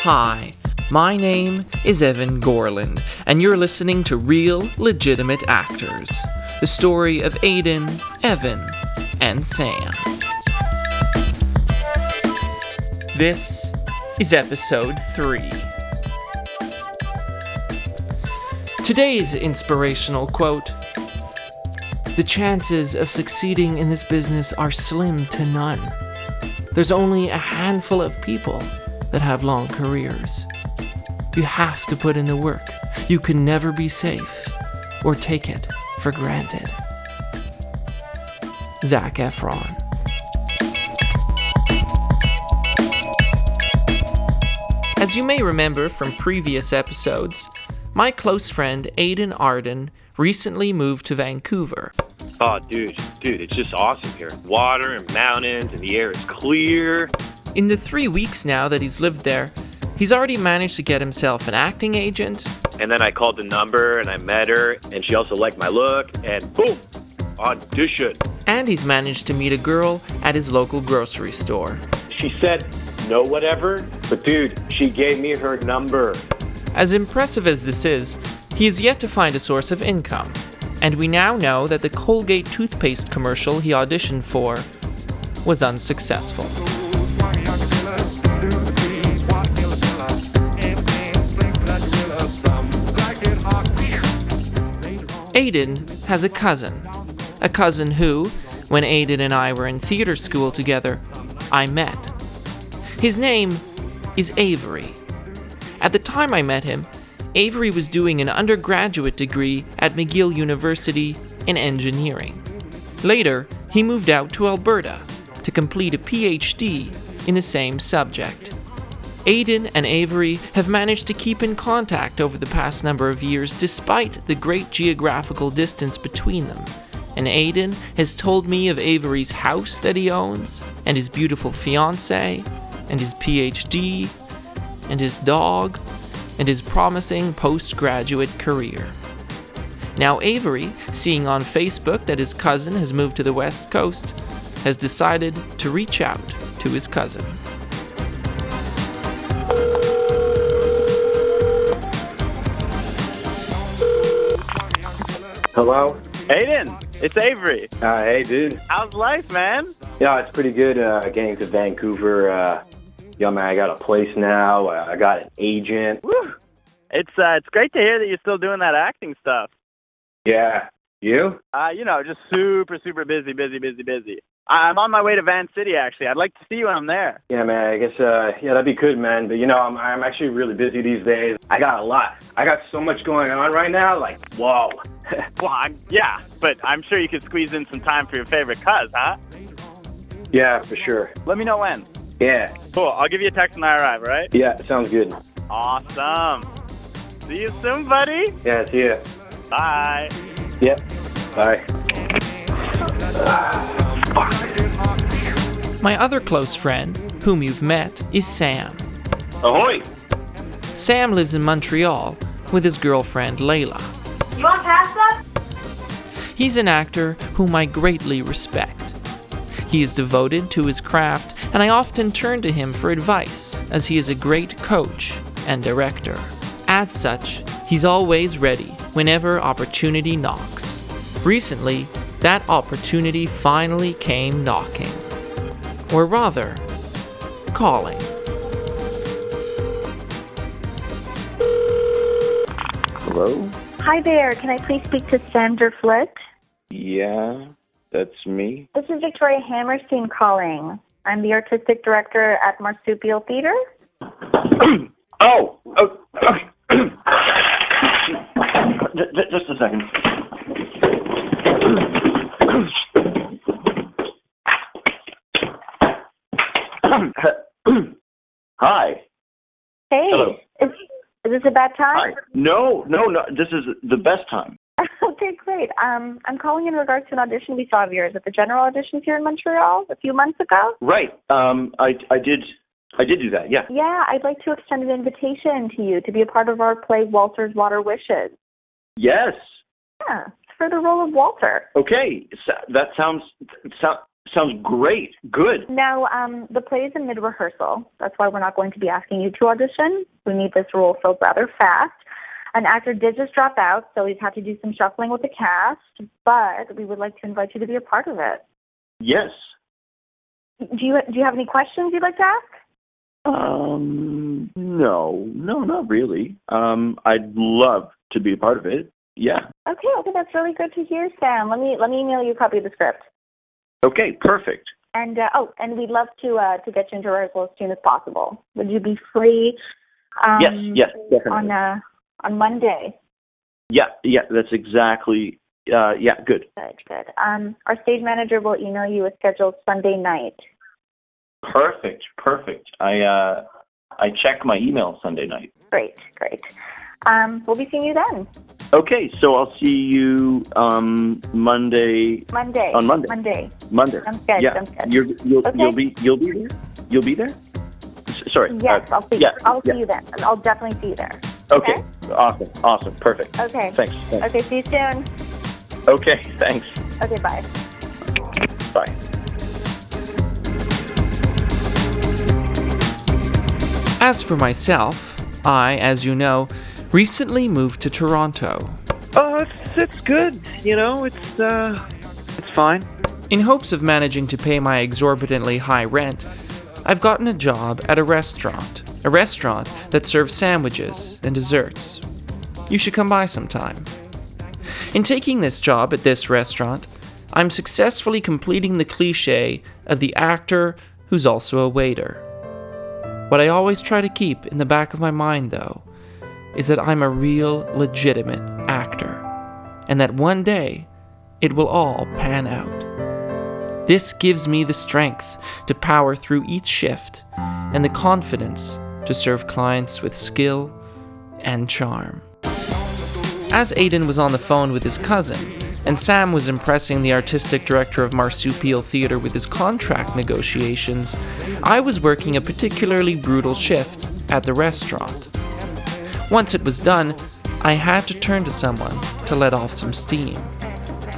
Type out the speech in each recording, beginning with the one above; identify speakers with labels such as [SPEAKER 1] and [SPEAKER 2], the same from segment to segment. [SPEAKER 1] Hi, my name is Evan Gorland, and you're listening to Real Legitimate Actors the story of Aiden, Evan, and Sam. This is episode 3. Today's inspirational quote The chances of succeeding in this business are slim to none. There's only a handful of people that have long careers. You have to put in the work. You can never be safe or take it for granted. Zach Efron. As you may remember from previous episodes, my close friend Aidan Arden recently moved to Vancouver.
[SPEAKER 2] Oh, dude, dude, it's just awesome here. Water and mountains, and the air is clear.
[SPEAKER 1] In the three weeks now that he's lived there, he's already managed to get himself an acting agent,
[SPEAKER 2] And then I called the number and I met her, and she also liked my look, and boom, audition.
[SPEAKER 1] and he's managed to meet a girl at his local grocery store.
[SPEAKER 2] She said, no, whatever, but dude, she gave me her number.
[SPEAKER 1] As impressive as this is, he has yet to find a source of income, and we now know that the Colgate toothpaste commercial he auditioned for was unsuccessful. Aiden has a cousin. A cousin who, when Aiden and I were in theater school together, I met. His name is Avery. At the time I met him, Avery was doing an undergraduate degree at McGill University in engineering. Later, he moved out to Alberta to complete a PhD in the same subject. Aiden and Avery have managed to keep in contact over the past number of years despite the great geographical distance between them. And Aiden has told me of Avery's house that he owns, and his beautiful fiance, and his PhD, and his dog, and his promising postgraduate career. Now, Avery, seeing on Facebook that his cousin has moved to the West Coast, has decided to reach out to his cousin.
[SPEAKER 3] Hello.
[SPEAKER 4] Aiden, it's Avery.
[SPEAKER 3] Uh, hey, dude.
[SPEAKER 4] How's life, man?
[SPEAKER 3] Yeah, it's pretty good uh, getting to Vancouver. Uh, yeah, man, I got a place now. Uh, I got an agent.
[SPEAKER 4] Woo. It's uh, it's great to hear that you're still doing that acting stuff.
[SPEAKER 3] Yeah. You?
[SPEAKER 4] Uh, you know, just super, super busy, busy, busy, busy. I- I'm on my way to Van City actually. I'd like to see you when I'm there.
[SPEAKER 3] Yeah, man. I guess. Uh, yeah, that'd be good, man. But you know, I'm I'm actually really busy these days. I got a lot. I got so much going on right now. Like, whoa.
[SPEAKER 4] Well, I'm, yeah, but I'm sure you could squeeze in some time for your favorite cuz, huh?
[SPEAKER 3] Yeah, for sure.
[SPEAKER 4] Let me know when.
[SPEAKER 3] Yeah.
[SPEAKER 4] Cool. I'll give you a text when I arrive. all Right?
[SPEAKER 3] Yeah. Sounds good.
[SPEAKER 4] Awesome. See you soon, buddy.
[SPEAKER 3] Yeah. See ya.
[SPEAKER 4] Bye.
[SPEAKER 3] Yep. Bye.
[SPEAKER 1] My other close friend, whom you've met, is Sam.
[SPEAKER 2] Ahoy!
[SPEAKER 1] Sam lives in Montreal with his girlfriend Layla.
[SPEAKER 5] You want pasta?
[SPEAKER 1] He's an actor whom I greatly respect. He is devoted to his craft, and I often turn to him for advice, as he is a great coach and director. As such, he's always ready whenever opportunity knocks. Recently, that opportunity finally came knocking. Or rather, calling.
[SPEAKER 6] Hello?
[SPEAKER 5] Hi there. Can I please speak to Sandra Flick?
[SPEAKER 6] Yeah, that's me.
[SPEAKER 5] This is Victoria Hammerstein calling. I'm the artistic director at Marsupial Theater.
[SPEAKER 6] Oh, oh okay. J- j- just a second. Hi.
[SPEAKER 5] Hey.
[SPEAKER 6] Hello.
[SPEAKER 5] Is, is this a bad
[SPEAKER 6] Hi.
[SPEAKER 5] time?
[SPEAKER 6] No, no, no. This is the best time.
[SPEAKER 5] okay, great. Um, I'm calling in regards to an audition we saw of yours at the general auditions here in Montreal a few months ago.
[SPEAKER 6] Right. Um, I, I did, I did do that. Yeah.
[SPEAKER 5] Yeah, I'd like to extend an invitation to you to be a part of our play Walter's Water Wishes.
[SPEAKER 6] Yes.
[SPEAKER 5] Yeah, it's for the role of Walter.
[SPEAKER 6] Okay, so that sounds so, sounds great. Good.
[SPEAKER 5] No, um, the play is in mid rehearsal. That's why we're not going to be asking you to audition. We need this role filled rather fast. An actor did just drop out, so we've had to do some shuffling with the cast, but we would like to invite you to be a part of it.
[SPEAKER 6] Yes.
[SPEAKER 5] Do you, do you have any questions you'd like to ask?
[SPEAKER 6] Um, no, no, not really. Um, I'd love to be a part of it. Yeah.
[SPEAKER 5] Okay, okay, that's really good to hear, Sam. Let me let me email you a copy of the script.
[SPEAKER 6] Okay, perfect.
[SPEAKER 5] And uh, oh, and we'd love to uh, to get you into rehearsal as soon as possible. Would you be free? Um,
[SPEAKER 6] Yes, yes, definitely.
[SPEAKER 5] On uh, on Monday.
[SPEAKER 6] Yeah, yeah, that's exactly. Uh, yeah, good.
[SPEAKER 5] Good, good. Um, our stage manager will email you a schedule Sunday night.
[SPEAKER 6] Perfect, perfect. I uh, I check my email Sunday night.
[SPEAKER 5] Great, great. Um, we'll be seeing you then.
[SPEAKER 6] Okay, so I'll see you um Monday.
[SPEAKER 5] Monday.
[SPEAKER 6] On Monday.
[SPEAKER 5] Monday.
[SPEAKER 6] Monday.
[SPEAKER 5] Sounds good,
[SPEAKER 6] Yeah,
[SPEAKER 5] sounds good.
[SPEAKER 6] You're, you'll
[SPEAKER 5] Okay.
[SPEAKER 6] you'll be you'll be there. You'll be there. S- sorry.
[SPEAKER 5] Yes,
[SPEAKER 6] Uh,
[SPEAKER 5] I'll see.
[SPEAKER 6] yeah,
[SPEAKER 5] you. I'll
[SPEAKER 6] yeah.
[SPEAKER 5] see you then. I'll definitely see you there.
[SPEAKER 6] Okay. Awesome. Awesome. Perfect.
[SPEAKER 5] Okay.
[SPEAKER 6] Thanks. thanks.
[SPEAKER 5] Okay. See you soon.
[SPEAKER 6] Okay. Thanks.
[SPEAKER 5] Okay. Bye.
[SPEAKER 6] Bye.
[SPEAKER 1] As for myself, I, as you know, recently moved to Toronto
[SPEAKER 4] Oh, it's it's good. You know, it's uh, it's fine.
[SPEAKER 1] In hopes of managing to pay my exorbitantly high rent, I've gotten a job at a restaurant, a restaurant that serves sandwiches and desserts. You should come by sometime. In taking this job at this restaurant, I'm successfully completing the cliche of the actor who's also a waiter. What I always try to keep in the back of my mind, though, is that I'm a real, legitimate actor, and that one day it will all pan out. This gives me the strength to power through each shift and the confidence to serve clients with skill and charm. As Aiden was on the phone with his cousin, and Sam was impressing the artistic director of Marsupial Theater with his contract negotiations, I was working a particularly brutal shift at the restaurant. Once it was done, I had to turn to someone to let off some steam.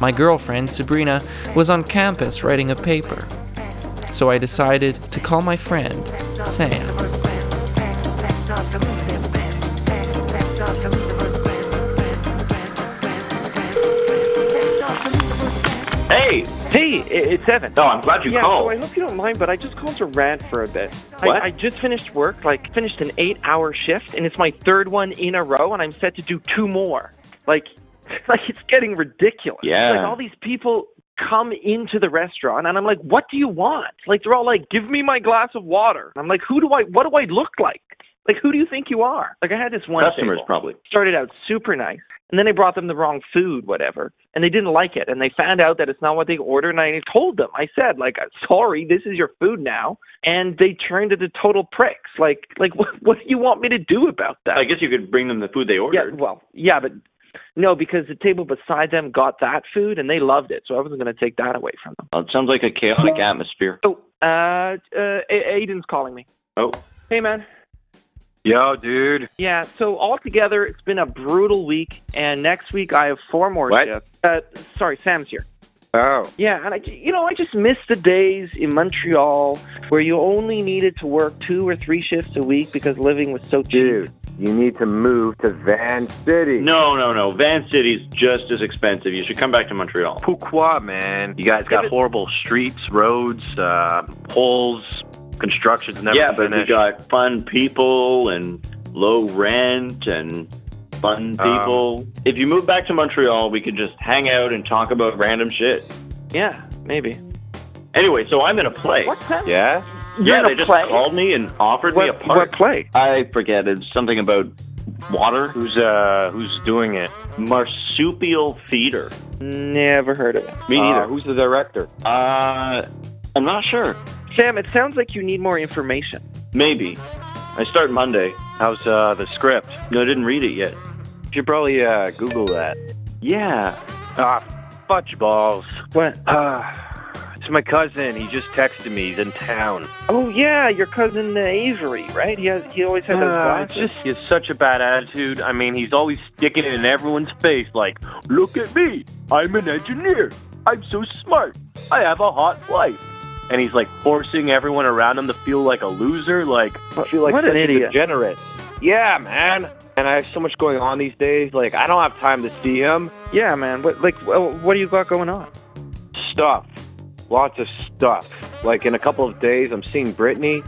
[SPEAKER 1] My girlfriend, Sabrina, was on campus writing a paper. So I decided to call my friend, Sam.
[SPEAKER 6] Hey.
[SPEAKER 4] Hey, i- it's Evan.
[SPEAKER 6] No, I'm glad you
[SPEAKER 4] yeah, so
[SPEAKER 6] called.
[SPEAKER 4] Oh, I hope you don't mind, but I just called to rant for a bit.
[SPEAKER 6] What?
[SPEAKER 4] I, I just finished work, like finished an eight-hour shift, and it's my third one in a row, and I'm set to do two more. Like, like it's getting ridiculous.
[SPEAKER 6] Yeah.
[SPEAKER 4] Like all these people come into the restaurant, and I'm like, "What do you want?" Like they're all like, "Give me my glass of water." And I'm like, "Who do I? What do I look like? Like who do you think you are?" Like I had this one
[SPEAKER 6] Customers
[SPEAKER 4] table
[SPEAKER 6] probably.
[SPEAKER 4] started out super nice. And then I brought them the wrong food, whatever, and they didn't like it. And they found out that it's not what they ordered. And I told them, I said, like, sorry, this is your food now. And they turned into total pricks. Like, like, what, what do you want me to do about that?
[SPEAKER 6] I guess you could bring them the food they
[SPEAKER 4] yeah,
[SPEAKER 6] ordered.
[SPEAKER 4] well, yeah, but no, because the table beside them got that food and they loved it, so I wasn't going to take that away from them.
[SPEAKER 6] Well, it sounds like a chaotic atmosphere.
[SPEAKER 4] Oh, uh, uh, A- Aiden's calling me.
[SPEAKER 6] Oh.
[SPEAKER 4] Hey, man.
[SPEAKER 2] Yo, dude.
[SPEAKER 4] Yeah, so altogether, it's been a brutal week, and next week I have four more
[SPEAKER 6] What?
[SPEAKER 4] shifts. Uh, sorry, Sam's here.
[SPEAKER 2] Oh.
[SPEAKER 4] Yeah, and I, you know, I just miss the days in Montreal where you only needed to work two or three shifts a week because living was so cheap.
[SPEAKER 2] Dude, you need to move to Van City.
[SPEAKER 6] No, no, no. Van City's just as expensive. You should come back to Montreal.
[SPEAKER 2] Pourquoi, man? You guys got
[SPEAKER 4] but-
[SPEAKER 2] horrible streets, roads, uh, holes, construction's never
[SPEAKER 6] yeah, but we
[SPEAKER 2] finished.
[SPEAKER 6] got fun people and low rent and fun
[SPEAKER 2] Um,
[SPEAKER 6] people. if you move back to Montreal, we could just hang out and talk about random shit.
[SPEAKER 4] Yeah, maybe.
[SPEAKER 6] Anyway, so I'm in a play.
[SPEAKER 4] What's that?
[SPEAKER 2] yeah?
[SPEAKER 4] You're
[SPEAKER 6] yeah,
[SPEAKER 4] in a
[SPEAKER 6] they just
[SPEAKER 4] play?
[SPEAKER 6] called me and offered me a
[SPEAKER 4] What,
[SPEAKER 6] part.
[SPEAKER 4] what play?
[SPEAKER 6] I forget. It's something about water,
[SPEAKER 2] Who's uh who's doing it?
[SPEAKER 6] marsupial theater.
[SPEAKER 4] Never heard of it.
[SPEAKER 6] Me neither.
[SPEAKER 2] who's the director?
[SPEAKER 6] Uh, I'm not sure.
[SPEAKER 4] Sam, it sounds like you need more information.
[SPEAKER 6] Maybe. I start Monday.
[SPEAKER 2] How's uh the script?
[SPEAKER 6] No, I didn't read it yet.
[SPEAKER 2] You should probably uh Google that.
[SPEAKER 6] Yeah.
[SPEAKER 2] Ah, fudge balls.
[SPEAKER 4] What?
[SPEAKER 2] Ah, it's my cousin. He just texted me. He's in town.
[SPEAKER 4] Oh yeah, your cousin uh, Avery, right? He has, he always had
[SPEAKER 6] Uh,
[SPEAKER 4] those
[SPEAKER 2] Ah, it's
[SPEAKER 4] glasses.
[SPEAKER 2] just he has such a bad attitude. I mean, he's always sticking it in everyone's face, like, "Look at me, I'm an engineer." I'm so smart. I have a hot wife. And he's like forcing everyone around him to feel like a loser. Like,
[SPEAKER 3] feel like
[SPEAKER 4] What an
[SPEAKER 3] such a
[SPEAKER 4] idiot.
[SPEAKER 3] degenerate. Yeah, man. And I have so much going on these days. Like, I don't have time to see him.
[SPEAKER 4] Yeah, man. What like well, what do you got going on?
[SPEAKER 3] Stuff. Lots of stuff. Like, in a couple of days, I'm seeing Brittany.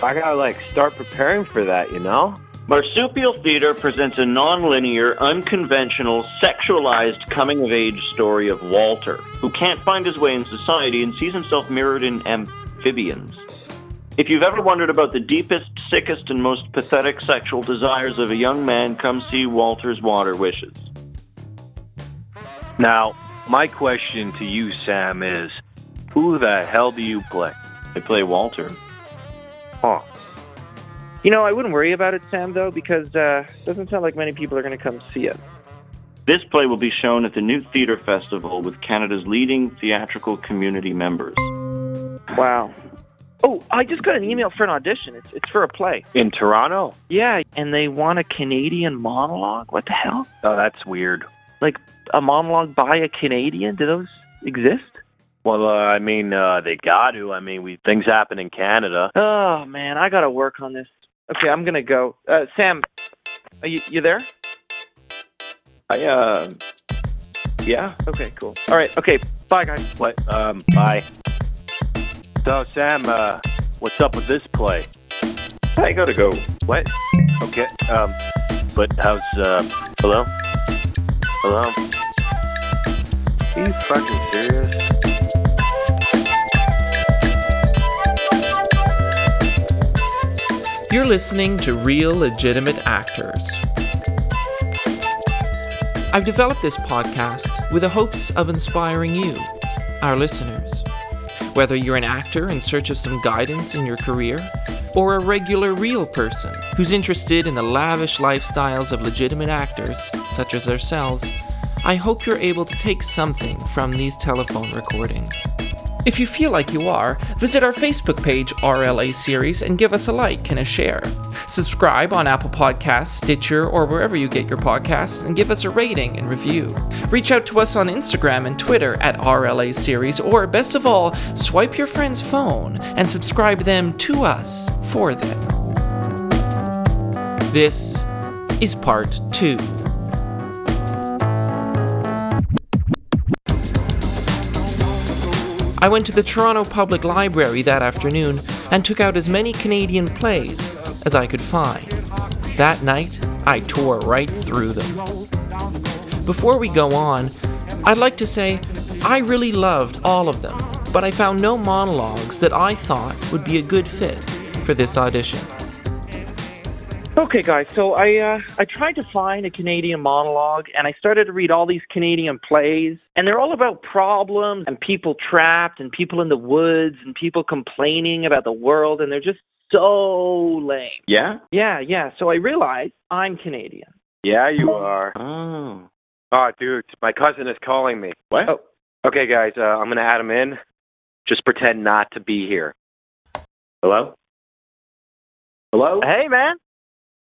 [SPEAKER 3] So I gotta, like, start preparing for that, you know?
[SPEAKER 6] Marsupial Theater presents a nonlinear, unconventional, sexualized coming of age story of Walter, who can't find his way in society and sees himself mirrored in amphibians. If you've ever wondered about the deepest, sickest, and most pathetic sexual desires of a young man, come see Walter's Water Wishes.
[SPEAKER 2] now, my question to you, Sam, is who the hell do you play?
[SPEAKER 6] I play Walter.
[SPEAKER 4] You know, I wouldn't worry about it, Sam, though, because uh, it doesn't sound like many people are going to come see it.
[SPEAKER 6] This play will be shown at the New Theatre Festival with Canada's leading theatrical community members.
[SPEAKER 4] Wow. Oh, I just got an email for an audition. It's it's for a play.
[SPEAKER 3] In Toronto?
[SPEAKER 4] Yeah, and they want a Canadian monologue. What the hell?
[SPEAKER 2] Oh, that's weird.
[SPEAKER 4] A monologue by a Canadian? Do those exist?
[SPEAKER 2] Well, uh, I mean, uh, they got to. I mean, we, things happen in Canada.
[SPEAKER 4] Oh man, I got to work on this. Okay, I'm gonna go. Uh, Sam, are you you there?
[SPEAKER 6] I, uh. Yeah?
[SPEAKER 4] Okay, cool. All right. Okay, bye guys.
[SPEAKER 2] What? Um, bye. So, Sam, uh, what's up with this play?
[SPEAKER 6] I gotta go.
[SPEAKER 2] What? Okay. Um, but how's uh? Hello? Hello? Are you fucking serious?
[SPEAKER 1] You're listening to Real Legitimate Actors. I've developed this podcast with the hopes of inspiring you, our listeners. Whether you're an actor in search of some guidance in your career, or a regular real person who's interested in the lavish lifestyles of legitimate actors, such as ourselves, I hope you're able to take something from these telephone recordings. If you feel like you are, visit our Facebook page, RLA Series, and give us a like and a share. Subscribe on Apple Podcasts, Stitcher, or wherever you get your podcasts, and give us a rating and review. Reach out to us on Instagram and Twitter at RLA Series, or best of all, swipe your friend's phone and subscribe them to us for them. This is part two. I went to the Toronto Public Library that afternoon and took out as many Canadian plays as I could find. That night, I tore right through them. Before we go on, I'd like to say I really loved all of them, but I found no monologues that I thought would be a good fit for this audition.
[SPEAKER 4] Okay, guys. So I uh, I tried to find a Canadian monologue, and I started to read all these Canadian plays, and they're all about problems and people trapped, and people in the woods, and people complaining about the world, and they're just so lame.
[SPEAKER 6] Yeah?
[SPEAKER 4] Yeah, yeah. So I realized I'm Canadian.
[SPEAKER 3] Yeah, you are.
[SPEAKER 6] Oh.
[SPEAKER 3] Oh, dude, my cousin is calling me.
[SPEAKER 6] What?
[SPEAKER 3] Oh. Okay, guys, uh, I'm gonna add him in. Just pretend not to be here. Hello? Hello?
[SPEAKER 4] Hey, man.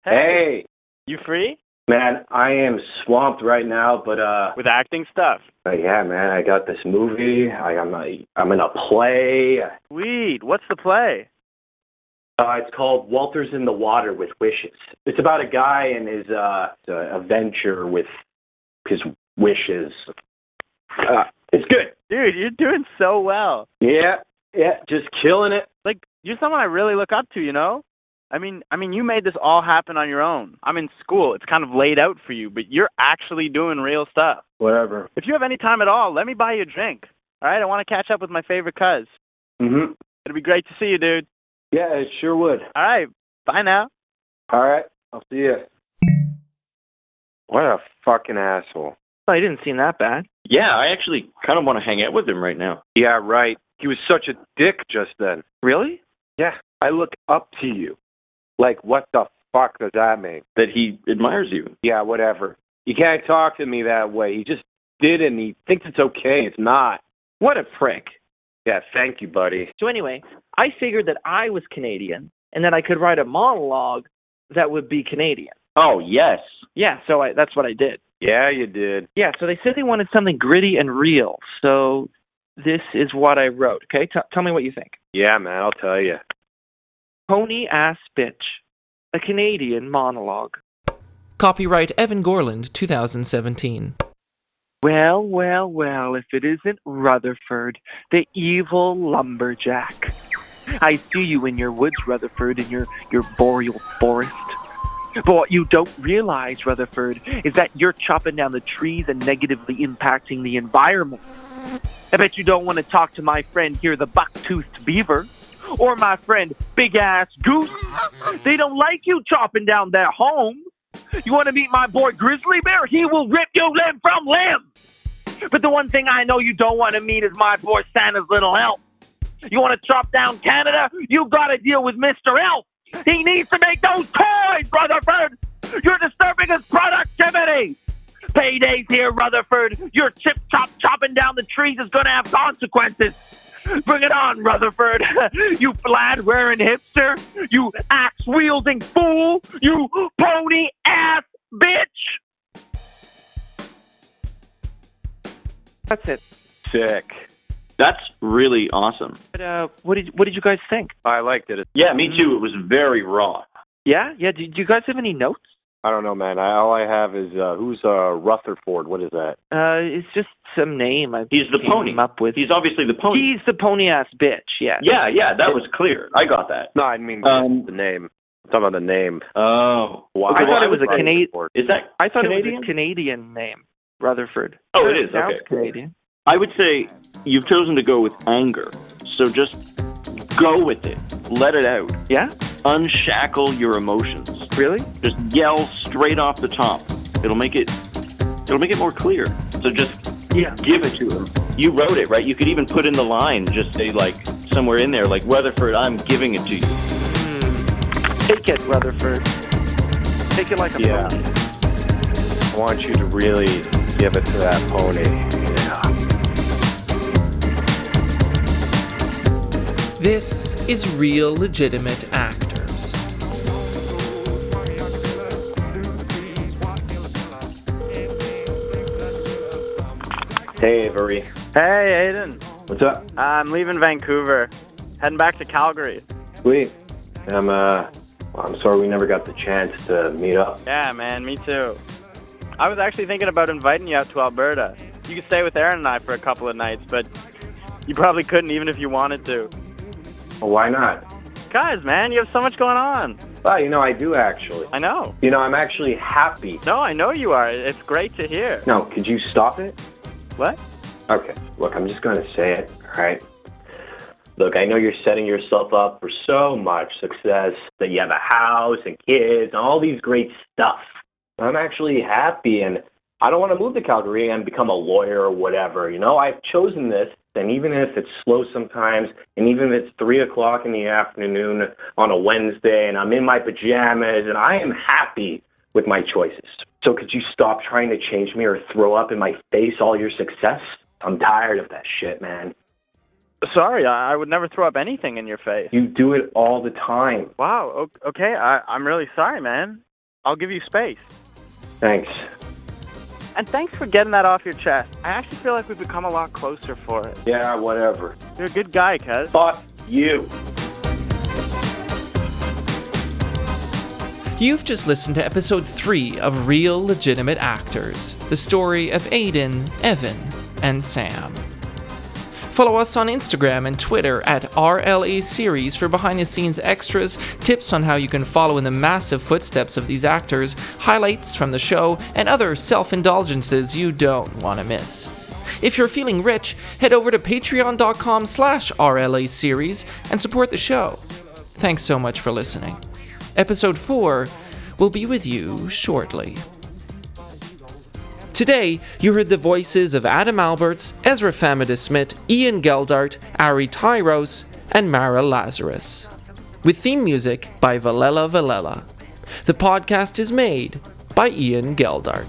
[SPEAKER 3] Hey,
[SPEAKER 7] You free?
[SPEAKER 3] man, I am swamped right now, but uh,
[SPEAKER 7] With acting stuff.
[SPEAKER 3] but yeah, man, I got this movie. I, I'm a, I'm in a play.
[SPEAKER 7] Sweet. What's the play?
[SPEAKER 3] Uh, it's called Walters in the Water with Wishes. It's about a guy and his uh, uh adventure with his wishes. Uh, it's good.
[SPEAKER 7] Dude, you're doing so well.
[SPEAKER 3] Yeah, yeah, just killing it.
[SPEAKER 7] Like you're someone I really look up to, you know? I mean, I mean you made this all happen on your own. I'm in school. It's kind of laid out for you, but you're actually doing real stuff.
[SPEAKER 3] Whatever.
[SPEAKER 7] If you have any time at all, let me buy you a drink. All right? I want to catch up with my favorite cuz.
[SPEAKER 3] hmm
[SPEAKER 7] It'd be great to see you, dude.
[SPEAKER 3] Yeah, it sure would.
[SPEAKER 7] All right. Bye now.
[SPEAKER 3] All right, I'll see you. What a fucking asshole.
[SPEAKER 4] Well, I didn't seem that bad.
[SPEAKER 6] Yeah, I actually kind of want to hang out with him right now.
[SPEAKER 3] Yeah, right. He was such a dick just then.
[SPEAKER 4] Really?
[SPEAKER 3] Yeah, I look up to you. Like, what the fuck does that mean?
[SPEAKER 6] That he admires you.
[SPEAKER 3] Yeah, whatever. You can't talk to me that way. He just did it and he thinks it's okay. It's not.
[SPEAKER 4] What a prick.
[SPEAKER 3] Yeah, thank you, buddy.
[SPEAKER 4] So anyway, I figured that I was Canadian and that I could write a monologue that would be Canadian.
[SPEAKER 6] Oh, yes.
[SPEAKER 4] Yeah, so I, that's what I did.
[SPEAKER 3] Yeah, you did.
[SPEAKER 4] Yeah, so they said they wanted something gritty and real. So this is what I wrote. Okay, T- tell me what you think.
[SPEAKER 3] Yeah, man, I'll tell you.
[SPEAKER 4] Pony ass bitch, a Canadian monologue.
[SPEAKER 1] Copyright Evan Gorland, 2017.
[SPEAKER 4] Well, well, well, if it isn't Rutherford, the evil lumberjack. I see you in your woods, Rutherford, in your, your boreal forest. But what you don't realize, Rutherford, is that you're chopping down the trees and negatively impacting the environment. I bet you don't want to talk to my friend here, the buck-toothed beaver, or my friend, big ass goose. They don't like you chopping down their home. You want to meet my boy Grizzly Bear? He will rip you limb from limb. But the one thing I know you don't want to meet is my boy Santa's little elf. You want to chop down Canada? You got to deal with Mr. Elf. He needs to make those toys, Rutherford. You're disturbing his productivity. Paydays here, Rutherford. Your chip chop chopping down the trees is going to have consequences. Bring it on, Rutherford. you plaid wearing hipster. You axe wielding fool. You pony ass bitch. That's it.
[SPEAKER 3] Sick.
[SPEAKER 6] That's really awesome.
[SPEAKER 4] But, uh, what did what did you guys think?
[SPEAKER 3] I liked it.
[SPEAKER 6] Yeah, me too. It was very raw.
[SPEAKER 4] Yeah, yeah. Do, do you guys have any notes?
[SPEAKER 3] I don't know, man. I, all I have is uh, who's uh, Rutherford? What is that?
[SPEAKER 4] Uh, it's just some name I
[SPEAKER 6] He's the
[SPEAKER 4] came
[SPEAKER 6] pony.
[SPEAKER 4] up with.
[SPEAKER 6] He's obviously the pony.
[SPEAKER 4] He's the pony ass bitch. Yeah.
[SPEAKER 6] yeah, yeah, that was clear. I got that.
[SPEAKER 3] No, I mean
[SPEAKER 6] Um,
[SPEAKER 3] the name. I'm talking about the name.
[SPEAKER 6] Oh,
[SPEAKER 3] Why?
[SPEAKER 4] I thought it was a
[SPEAKER 3] Rutherford.
[SPEAKER 4] Canadian.
[SPEAKER 6] is that?
[SPEAKER 4] I thought it
[SPEAKER 6] Canadian?
[SPEAKER 4] was a Canadian name, Rutherford.
[SPEAKER 6] Oh, it is,
[SPEAKER 4] sounds
[SPEAKER 6] okay.
[SPEAKER 4] Canadian.
[SPEAKER 6] I would say you've chosen to go with anger. So just go with it. Let it out.
[SPEAKER 4] Yeah.
[SPEAKER 6] Unshackle your emotions.
[SPEAKER 4] Really?
[SPEAKER 6] Just yell straight off the top. It'll make it. It'll make it more clear. So just
[SPEAKER 4] Yeah.
[SPEAKER 6] give it to him. You wrote it, right? You could even put in the line, just say like somewhere in there, like Weatherford, I'm giving it to you.
[SPEAKER 4] Take it, Rutherford. Take it like a
[SPEAKER 3] Yeah.
[SPEAKER 4] pony.
[SPEAKER 3] I want you to really give it to that pony. Yeah.
[SPEAKER 1] This is real legitimate actors.
[SPEAKER 3] Hey, Avery.
[SPEAKER 7] Hey, Aiden.
[SPEAKER 3] What's up?
[SPEAKER 7] I'm leaving Vancouver, heading back to Calgary.
[SPEAKER 3] Sweet. I'm uh, I'm sorry we never got the chance to meet up.
[SPEAKER 7] Yeah, man, me too. I was actually thinking about inviting you out to Alberta. You could stay with Aaron and I for a couple of nights, but you probably couldn't even if you wanted to.
[SPEAKER 3] Well, why not?
[SPEAKER 7] Guys, man, you have so much going on.
[SPEAKER 3] Well, you know I do actually.
[SPEAKER 7] I know.
[SPEAKER 3] You know I'm actually happy.
[SPEAKER 7] No, I know you are. It's great to hear.
[SPEAKER 3] No, could you stop it?
[SPEAKER 7] What?
[SPEAKER 3] Okay. Look, I'm just gonna say it. All right. Look, I know you're setting yourself up for so much success that you have a house and kids and all these great stuff. I'm actually happy and I don't want to move to Calgary and become a lawyer or whatever. You know, I've chosen this, and even if it's slow sometimes, and even if it's three o'clock in the afternoon on a Wednesday, and I'm in my pajamas, and I am happy with my choices. So could you stop trying to change me or throw up in my face all your success? I'm tired of that shit, man.
[SPEAKER 7] Sorry, I, I would never throw up anything in your face.
[SPEAKER 3] You do it all the time.
[SPEAKER 7] Wow. o- Okay. I, I'm really sorry, man. I'll give you space.
[SPEAKER 3] Thanks.
[SPEAKER 7] And thanks for getting that off your chest. I actually feel like we've become a lot closer for it.
[SPEAKER 3] Yeah, whatever.
[SPEAKER 7] You're a good guy, cuz.
[SPEAKER 3] Fuck you.
[SPEAKER 1] You've just listened to episode 3 of Real Legitimate Actors, the story of Aiden, Evan, and Sam. Follow us on Instagram and Twitter at RLA Series for behind the scenes extras, tips on how you can follow in the massive footsteps of these actors, highlights from the show, and other self indulgences you don't want to miss. If you're feeling rich, head over to patreon.com slash RLA Series and support the show. Thanks so much for listening. Episode 4 will be with you shortly. Today, you heard the voices of Adam Alberts, Ezra Famida Smith, Ian Geldart, Ari Tyros, and Mara Lazarus. With theme music by Valella Valella. The podcast is made by Ian Geldart.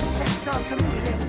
[SPEAKER 8] Thank you.